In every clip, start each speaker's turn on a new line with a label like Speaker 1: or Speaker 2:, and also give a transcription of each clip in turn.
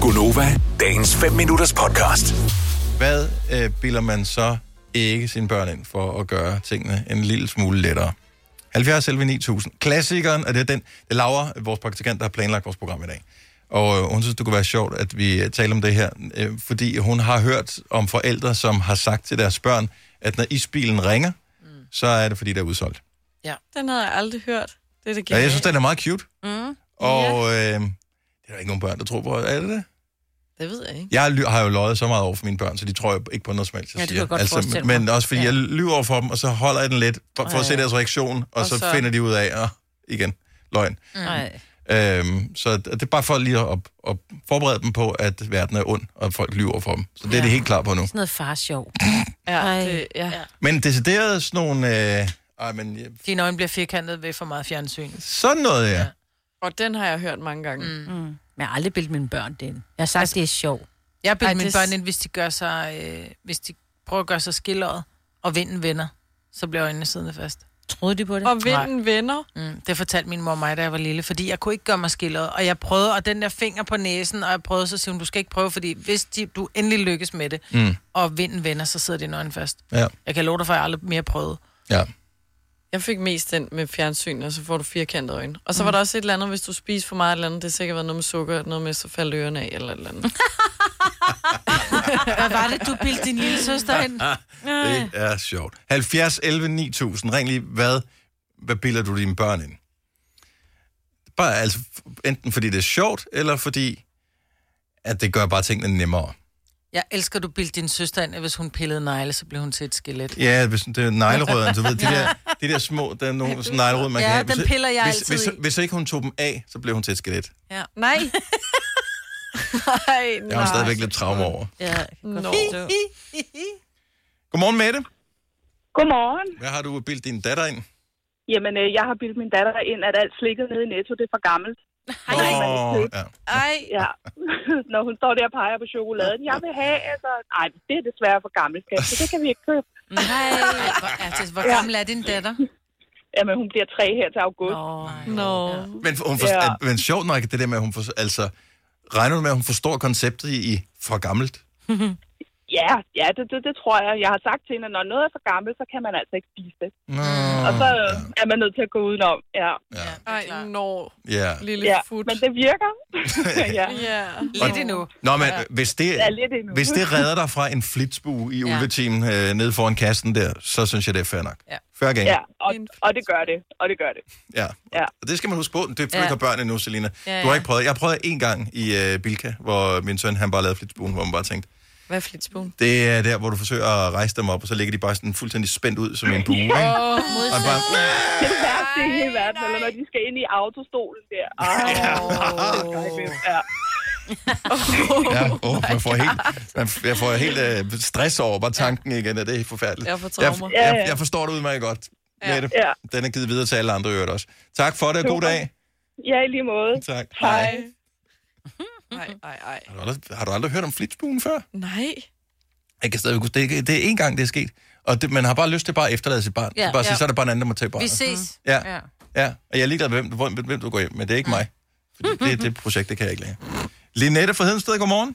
Speaker 1: Gunova, dagens 5 minutters podcast.
Speaker 2: Hvad øh, bilder man så ikke sine børn ind for at gøre tingene en lille smule lettere? 70 11 9000. Klassikeren, og det er den, det er Laura, vores praktikant, der har planlagt vores program i dag. Og øh, hun synes, det kunne være sjovt, at vi øh, taler om det her, øh, fordi hun har hørt om forældre, som har sagt til deres børn, at når isbilen ringer, mm. så er det, fordi der er udsolgt.
Speaker 3: Den havde jeg aldrig hørt. Det er
Speaker 2: Ja,
Speaker 3: det
Speaker 2: jeg
Speaker 3: genialt.
Speaker 2: synes, den er meget cute.
Speaker 3: Mm,
Speaker 2: Og øh, det er der ikke nogen børn, der tror på. Er det det?
Speaker 3: det ved jeg ikke.
Speaker 2: Jeg ly- har jo løjet så meget over for mine børn, så de tror jo ikke på noget som helst, jeg
Speaker 4: Ja, det
Speaker 2: siger.
Speaker 4: kan
Speaker 2: Altså,
Speaker 4: jeg godt forestille mig.
Speaker 2: men også fordi ja. jeg lyver over for dem, og så holder jeg den lidt, for, for at se
Speaker 4: Ej.
Speaker 2: deres reaktion, og, og så, så
Speaker 3: så-
Speaker 2: finder de ud af, at igen, løgn.
Speaker 4: Nej.
Speaker 2: Øhm, så det det er bare for lige at, at- at forberede dem på, at verden er ond, og folk lyver over for dem. Så det ja. er
Speaker 3: Ja.
Speaker 2: de helt klar på nu.
Speaker 4: Sådan noget farsjov.
Speaker 3: Ja,
Speaker 4: Ej.
Speaker 3: det, ja.
Speaker 2: Men decideret sådan nogle... Øh, ej, men, ja,
Speaker 5: Dine øjne bliver firkantet ved for meget fjernsyn.
Speaker 2: sådan noget, ja. ja.
Speaker 3: Og den har jeg hørt mange gange. Mm.
Speaker 4: Men jeg har aldrig bildt mine børn det ind. Jeg har sagt, altså, det er sjovt.
Speaker 5: Jeg bilder
Speaker 3: Ej,
Speaker 5: mine
Speaker 3: det-
Speaker 5: børn ind, hvis de, gør sig, øh, hvis de prøver at gøre sig skilleret, og vinden vender, så bliver øjnene siddende fast.
Speaker 4: Troede de på det?
Speaker 3: Og vinden Nej. vender.
Speaker 5: Mm. Det fortalte min mor mig, da jeg var lille, fordi jeg kunne ikke gøre mig skilleret. Og jeg prøvede, og den der finger på næsen, og jeg prøvede, så siger hun, du skal ikke prøve, fordi hvis de, du endelig lykkes med det,
Speaker 2: Mm.
Speaker 5: og vinden vender, så sidder dine øjne fast.
Speaker 2: Ja.
Speaker 5: Jeg kan love dig for, at jeg aldrig mere prøvede.
Speaker 2: ja.
Speaker 3: Jeg fik mest den med fjernsyn, og så får du firkantede øjne. Og så var der også et eller andet, hvis du spiser for meget et eller andet. Det har sikkert været noget med sukker, noget med, så faldt ørerne af eller et eller andet.
Speaker 5: Hvad var det, du bildte din lille søster ind?
Speaker 2: Det er sjovt. 70, 11, 9000. Ring lige, hvad, hvad bilder du dine børn ind? Bare altså, enten fordi det er sjovt, eller fordi, at det gør bare tingene nemmere.
Speaker 5: Jeg elsker, at du bildte din søster ind, at hvis hun pillede negle, så blev hun til et skelet.
Speaker 2: Ja, hvis det er neglerødderne, så ved de der, de der små, der er nogle sådan neglerød, man
Speaker 5: Ja,
Speaker 2: kan have.
Speaker 5: dem piller jeg
Speaker 2: hvis,
Speaker 5: altid
Speaker 2: hvis,
Speaker 5: i.
Speaker 2: hvis, hvis, ikke hun tog dem af, så blev hun til et skelet. Det
Speaker 5: Ja.
Speaker 3: Nej. Nej,
Speaker 2: har hun stadigvæk
Speaker 3: nej.
Speaker 2: lidt traume over.
Speaker 4: Ja, jeg kan godt
Speaker 3: Nå.
Speaker 4: forstå.
Speaker 2: Godmorgen, Mette.
Speaker 6: Godmorgen.
Speaker 2: Hvad har du bildt din datter ind?
Speaker 6: Jamen, øh, jeg har bildt min datter ind, at alt slikket nede i Netto, det er for gammelt.
Speaker 2: Åh, ja.
Speaker 3: Ej.
Speaker 6: Ja. Når hun står der og peger på chokoladen. Jeg vil have, altså... Nej, det er desværre for gammelt, skat, så det kan vi ikke købe.
Speaker 5: Nej, hvor, altså, hvor gammel er din datter?
Speaker 6: Jamen, hun bliver tre her til august.
Speaker 3: Nå.
Speaker 4: Nå.
Speaker 2: Men, for- hun for,
Speaker 6: Ja.
Speaker 2: ja. men sjovt nok, det der med, at hun for, altså, regner du med, at hun forstår konceptet i, i for gammelt?
Speaker 6: Ja, ja det, det, det tror jeg. Jeg har sagt til hende, at når noget er for gammelt, så kan man altså ikke spise det.
Speaker 2: Nå,
Speaker 6: Og så øh, er man nødt til at gå udenom. Ja,
Speaker 2: ja,
Speaker 3: Ej, når.
Speaker 2: ja.
Speaker 3: Lille
Speaker 6: ja.
Speaker 3: ja, fut.
Speaker 6: men det virker. ja.
Speaker 3: Ja.
Speaker 5: Lidt endnu.
Speaker 2: Nå, men hvis det,
Speaker 6: Ja, lidt endnu.
Speaker 2: hvis det redder dig fra en flitsbue i
Speaker 5: Ja.
Speaker 2: ulvetimen øh, nede foran kassen der, så synes jeg, det er fair nok.
Speaker 5: Ja.
Speaker 2: Fair game.
Speaker 6: Ja, og, og det gør det. Og det gør det.
Speaker 2: Ja.
Speaker 6: Ja.
Speaker 2: Og det skal man huske på. Det er fordi,
Speaker 5: Ja.
Speaker 2: ja. har børn endnu, Selina.
Speaker 5: Ja,
Speaker 2: Du har
Speaker 5: ja.
Speaker 2: ikke prøvet. Jeg prøvede en gang i øh, Bilka, hvor min søn han bare lavede flitsbuen, hvor man bare tænkte,
Speaker 3: Hvad er flitsbuen?
Speaker 2: det er der, hvor du forsøger at rejse dem op, og så ligger de bare sådan fuldstændig spændt ud som en bue. Ikke?
Speaker 3: Åh,
Speaker 2: Og bare,
Speaker 6: Det er det værste i hele verden, eller når de skal ind i autostolen der. Ej, ja.
Speaker 2: Ja, oh, man får helt, man, jeg får helt øh, stress over bare tanken igen, og det er helt forfærdeligt.
Speaker 3: Jeg får
Speaker 2: jeg,
Speaker 3: traumer.
Speaker 6: Ja,
Speaker 2: jeg,
Speaker 6: ja.
Speaker 2: jeg forstår det udmærket godt, ja. Mette.
Speaker 6: Ja.
Speaker 2: Den er givet videre til alle andre i øvrigt også. Tak for det, og god
Speaker 6: Super.
Speaker 2: dag.
Speaker 6: ja, i lige måde.
Speaker 2: Tak.
Speaker 6: Hej.
Speaker 3: Nej, nej, nej.
Speaker 2: Har du aldrig, har du aldrig hørt om flitsbuen før?
Speaker 3: Nej.
Speaker 2: Jeg kan stadig, det, er- det er én gang, det er sket. Og det, man har bare lyst til bare at efterlade sit barn.
Speaker 4: Ja.
Speaker 2: Ja, bare sige,
Speaker 5: Ja.
Speaker 2: så er der bare en anden, der må tage
Speaker 5: Vi
Speaker 2: barnet.
Speaker 5: ses.
Speaker 2: Ja,
Speaker 4: Ja.
Speaker 2: ja. Og jeg er ligeglad med, hvem, hvem, hvem du går hjem med. Det er ikke mig. Fordi det, det projekt, det kan jeg ikke længere. Linette fra Hedensted, godmorgen.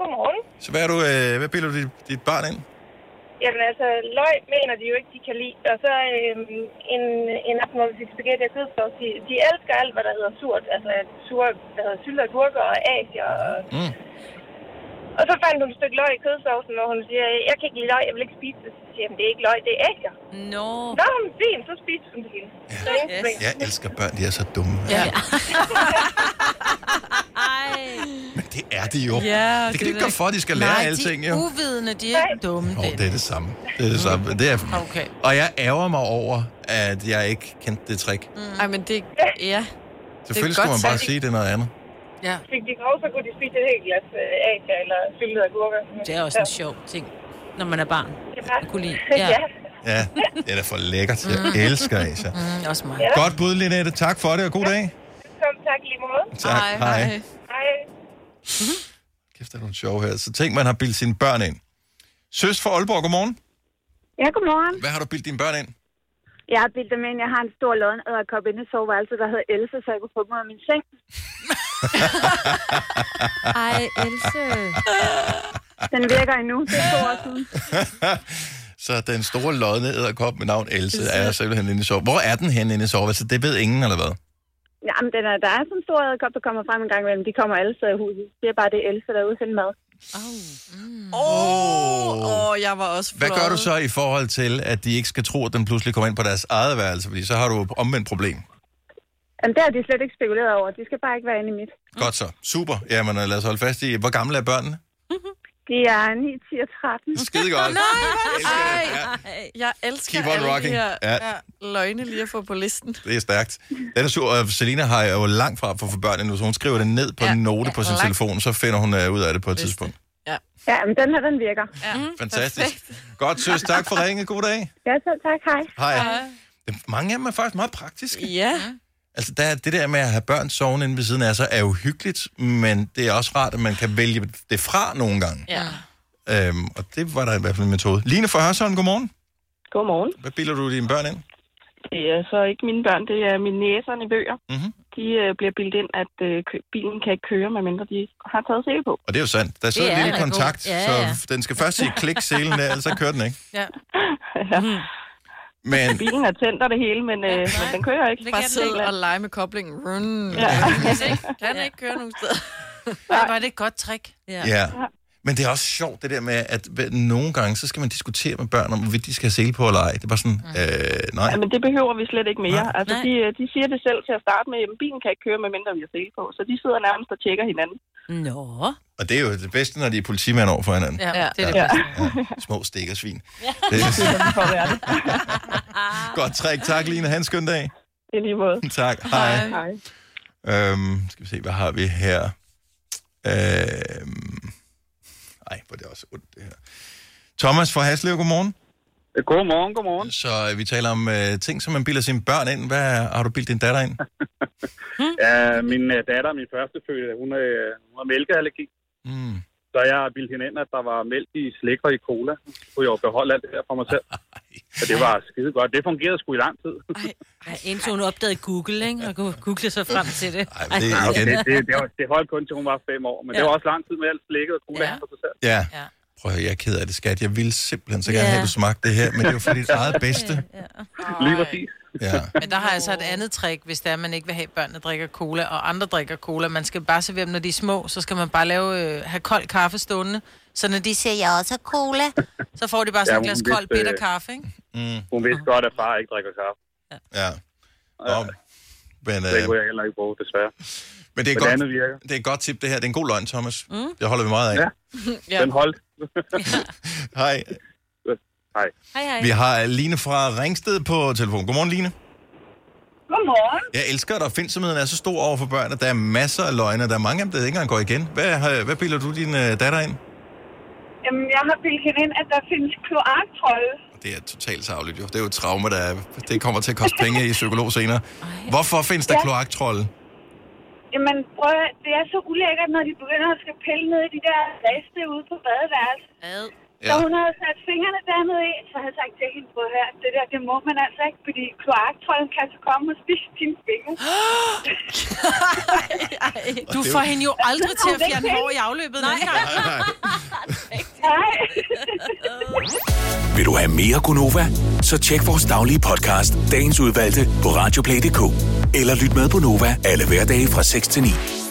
Speaker 6: Godmorgen.
Speaker 2: Så hvad, er du, øh, hvad bilder du dit, dit barn ind?
Speaker 6: Jamen altså, løg mener de jo ikke, de kan lide. Og så øhm, en, en aften, hvor vi fik spaghetti og kødsovs, de, de elsker alt, hvad der hedder surt. Altså sure, der hedder sylte og gurker og asier. Og,
Speaker 2: Mm.
Speaker 6: og så fandt hun et stykke løg i kødsovsen, og hun siger, jeg kan ikke lide løg, jeg vil ikke spise det. Så siger jeg, "Men det er ikke løg, det er asier.
Speaker 4: Nå.
Speaker 6: Nå, men fint, så spiste hun det hele. Så ingen problem.
Speaker 2: Jeg elsker børn, de er så dumme.
Speaker 5: Ja.
Speaker 2: Men det er de jo.
Speaker 3: Ja,
Speaker 2: det kan de ikke gøre for, at de skal lære
Speaker 5: Nej,
Speaker 2: alting,
Speaker 5: de Uh. er
Speaker 2: jo.
Speaker 5: uvidende, de er ikke dumme.
Speaker 2: Nå,
Speaker 5: det.
Speaker 2: det er det samme. Det er det samme. Det er...
Speaker 5: Okay.
Speaker 2: Og jeg ærger mig over, at jeg ikke kendte det trick.
Speaker 3: Ej, men det... Ja.
Speaker 2: Selvfølgelig
Speaker 3: godt
Speaker 2: skulle man bare
Speaker 3: sagt.
Speaker 2: sige, at det er noget andet.
Speaker 6: Fik de grov, så kunne de spise et helt glas øh, asier eller syltede agurker.
Speaker 4: Det er også en sjov ting, når man er barn. Jeg kunne lide.
Speaker 6: Ja.
Speaker 4: Ja.
Speaker 6: ja.
Speaker 2: Ja, det er da for lækkert. Jeg elsker Asia.
Speaker 5: Mm, også mig.
Speaker 2: Godt bud, Linette. Tak for det, og god dag.
Speaker 6: Kom, tak i lige måde.
Speaker 2: Tak. Hej.
Speaker 6: Hej.
Speaker 2: Kæft, der er nogle sjove her. Så tænk, man har bildt sine børn ind. Søs fra Aalborg, godmorgen.
Speaker 7: Ja, godmorgen.
Speaker 2: Hvad har du bildt dine børn ind?
Speaker 7: Jeg har bildt dem ind. Jeg har en stor lodden æderkop inde i soveværelset, der hedder Else, så jeg kunne få dem ud af min seng.
Speaker 8: Ej, Else.
Speaker 7: Den virker endnu. Det er to år siden.
Speaker 2: Så den store lodne æderkop med navn Else er simpelthen inde i sove. Hvor er den henne inde i soveværelset? Det ved ingen, eller hvad?
Speaker 7: Jamen, den er, der er sådan en stor æderkop, der kommer frem en gang imellem. De kommer alle steder i huset. Det er bare det Else, der er ude og finde mad.
Speaker 3: Åh, oh, oh, jeg var også
Speaker 2: Hvad gør du så
Speaker 3: flået.
Speaker 2: i forhold til, at de ikke skal tro, at den pludselig kommer ind på deres eget værelse? Fordi så har du omvendt problem.
Speaker 7: Jamen, det har de slet ikke spekuleret over. De skal bare ikke være inde i mit.
Speaker 2: Godt så. Super. Jamen, øh, lad os holde fast i, hvor gamle er børnene?
Speaker 7: De er 9, 10 og 13.
Speaker 2: Skide godt. Nej, ja,
Speaker 3: Jeg elsker
Speaker 2: Keep on
Speaker 3: alle
Speaker 2: rocking.
Speaker 3: de her
Speaker 2: Ja.
Speaker 3: ja. løgne lige at få på listen.
Speaker 2: det er stærkt. Den er sur, og Selina har jo langt fra for at få børn endnu, så hun skriver det ned på ja,
Speaker 3: Ja,
Speaker 2: en note ja, på sin
Speaker 3: langt.
Speaker 2: telefon, så finder hun øh, ud af det på et
Speaker 3: Vist.
Speaker 2: tidspunkt.
Speaker 7: Ja, men den her, den virker.
Speaker 3: Ja.
Speaker 2: Mm, Fantastisk. Godt, søs. Tak for ringen. God dag.
Speaker 7: Ja, så tak. Hej.
Speaker 2: Hej. Hej. Mange af dem er faktisk meget praktiske.
Speaker 3: Ja.
Speaker 2: Altså, der, er- det der med at have børn sovende inde ved siden af sig, er jo hyggeligt, men det er også rart, at man kan vælge det fra nogle gange.
Speaker 3: ja.
Speaker 2: Øhm, og det var der i hvert fald en metode. Line fra Hørsholm, godmorgen.
Speaker 6: Godmorgen.
Speaker 2: Hvad bilder du dine børn ind?
Speaker 6: Det er så ikke mine børn, det er mine næserne i bøger.
Speaker 2: Mhm.
Speaker 6: De øh, bliver bildet ind, at øh, kø- bilen kan ikke køre, medmindre de har taget sæbe på.
Speaker 2: Og det er jo sandt. Der sidder
Speaker 4: er
Speaker 2: en lille
Speaker 4: da god.
Speaker 2: kontakt,
Speaker 4: Ja,
Speaker 2: så
Speaker 4: ja.
Speaker 2: den skal først sige klik selen der, ellers så kører den ikke.
Speaker 6: Ja.
Speaker 2: Men
Speaker 6: Bilen er tændt og det hele, men, øh, men den kører ikke.
Speaker 4: Det
Speaker 3: Bare
Speaker 4: kan den
Speaker 3: sidde
Speaker 4: ikke.
Speaker 3: og lege med koblingen. Run.
Speaker 6: Ja.
Speaker 3: Kan ikke køre nogen steder.
Speaker 5: Ej, var det et godt trick?
Speaker 2: ja. Men det er også sjovt, det der med, at hver- nogle gange, så skal man diskutere med børn om, hvorvidt de skal have sele på eller ej. Det er bare sådan, øh, nej.
Speaker 6: Ja, men det behøver vi slet ikke mere. Altså,
Speaker 4: Nej.
Speaker 6: de, øh, de siger det selv til at starte med, at bilen kan ikke køre, medmindre vi har sele på. Så de sidder nærmest og tjekker hinanden.
Speaker 4: Nå.
Speaker 2: Og det er jo det bedste, når de er politimænd over for hinanden.
Speaker 5: Ja,
Speaker 3: Ja.
Speaker 5: ja. det er det.
Speaker 2: Ja.
Speaker 5: Ja.
Speaker 2: Ja, små stikkersvin. Det er
Speaker 6: For at være det.
Speaker 2: godt træk. Tak, Line. Ha' en skøn dag.
Speaker 6: I lige måde.
Speaker 2: Tak. Hej.
Speaker 6: Hej.
Speaker 2: Øhm, skal vi se, hvad har vi her? Øhm, ej, hvor er det også ondt, det her. Thomas fra Haslev, godmorgen.
Speaker 9: Godmorgen, godmorgen.
Speaker 2: Så øh, vi taler om øh, ting, som man bilder sine børn ind. Hvad har du bildt din datter ind?
Speaker 9: Ja, min øh, datter, min førstefødte, hun, øh, hun har mælkeallergi.
Speaker 2: Mm.
Speaker 9: Så jeg har bildt hende ind, at der var mælk i slik og i cola. Så kunne jeg jo beholde alt det her for mig selv. Så det var skide godt. Det fungerede sgu i lang tid.
Speaker 4: Ej, indtil hun opdagede Google, ikke? Og kunne google sig frem til det.
Speaker 2: Ej, men det er
Speaker 9: Det,
Speaker 2: igen.
Speaker 9: det, det, var- det holdt kun til hun var fem år. Men det
Speaker 4: Ja.
Speaker 9: var også lang tid med alt slikket og cola
Speaker 4: Ja.
Speaker 9: ja. for sig selv.
Speaker 2: Ja.
Speaker 5: Ja.
Speaker 2: Prøv at høre, jeg er ked af det, skat. Jeg ville simpelthen så gerne
Speaker 4: Ja.
Speaker 2: have, at du smagte det her, men det er jo for dit eget bedste.
Speaker 9: Lige præcis.
Speaker 2: Ja.
Speaker 5: Men der har altså et andet trick, hvis det er, at man ikke vil have, at børnene drikker cola, og andre drikker cola. Man skal bare servere dem, når de er små, så skal man bare lave, øh, have kold kaffe stående. Så når de siger, jeg også har cola, så får de bare sådan
Speaker 9: Ja,
Speaker 5: ja, et glas
Speaker 9: hun vidste,
Speaker 5: kold bitter
Speaker 9: øh,
Speaker 5: kaffe, ikke?
Speaker 2: Mm,
Speaker 9: Hun vidste godt, at far ikke drikker kaffe.
Speaker 2: ja. Nå, men,
Speaker 9: Det
Speaker 2: øh,
Speaker 9: kunne jeg heller ikke bruge, desværre.
Speaker 2: men det er
Speaker 9: Men det andet
Speaker 2: godt.
Speaker 9: virker.
Speaker 2: Det er et godt tip, det her. Det er en god løgn, Thomas. Mm. Det holder vi meget af.
Speaker 9: Ja.
Speaker 3: Ja.
Speaker 9: Den holdt.
Speaker 2: Hej.
Speaker 9: Hej.
Speaker 4: Hej,
Speaker 2: Vi
Speaker 4: hej.
Speaker 2: har Line fra Ringsted på telefon. Godmorgen, Line.
Speaker 6: Godmorgen.
Speaker 2: Jeg elsker, at opfindsomheden er så stor over for børn, at der er masser af løgne, og der er mange af dem, der ikke engang går igen. Hvad, har- hvad bilder du din øh, datter ind?
Speaker 6: Jamen, jeg har bildet hende ind, at der findes kloaktrolde.
Speaker 2: Det er totalt savligt jo. Det er jo et traume, der er, det kommer til at koste penge i psykolog senere. Hvorfor findes der
Speaker 6: Ja.
Speaker 2: kloaktrolde?
Speaker 6: Jamen, prøv at, det er så ulækkert, når de begynder at skal pille ned i de der riste ude på badeværelset.
Speaker 4: Ad.
Speaker 6: Ja. Så hun havde sat fingrene dernede i, så havde jeg sagt til hende, prøv at høre, det der, det må man altså ikke, fordi kloaktrolden kan så komme og spise dine fingre.
Speaker 5: Du
Speaker 2: det er
Speaker 5: får
Speaker 2: jo-
Speaker 5: hende jo aldrig til at
Speaker 6: Det er
Speaker 5: fjerne
Speaker 6: ikke
Speaker 5: hår i afløbet. Nej,
Speaker 6: Nej.
Speaker 1: Vil du have mere Gunova? Så tjek vores daglige podcast, dagens udvalgte, på radioplay.dk. Eller lyt med på Nova alle hverdage fra 6 til 9.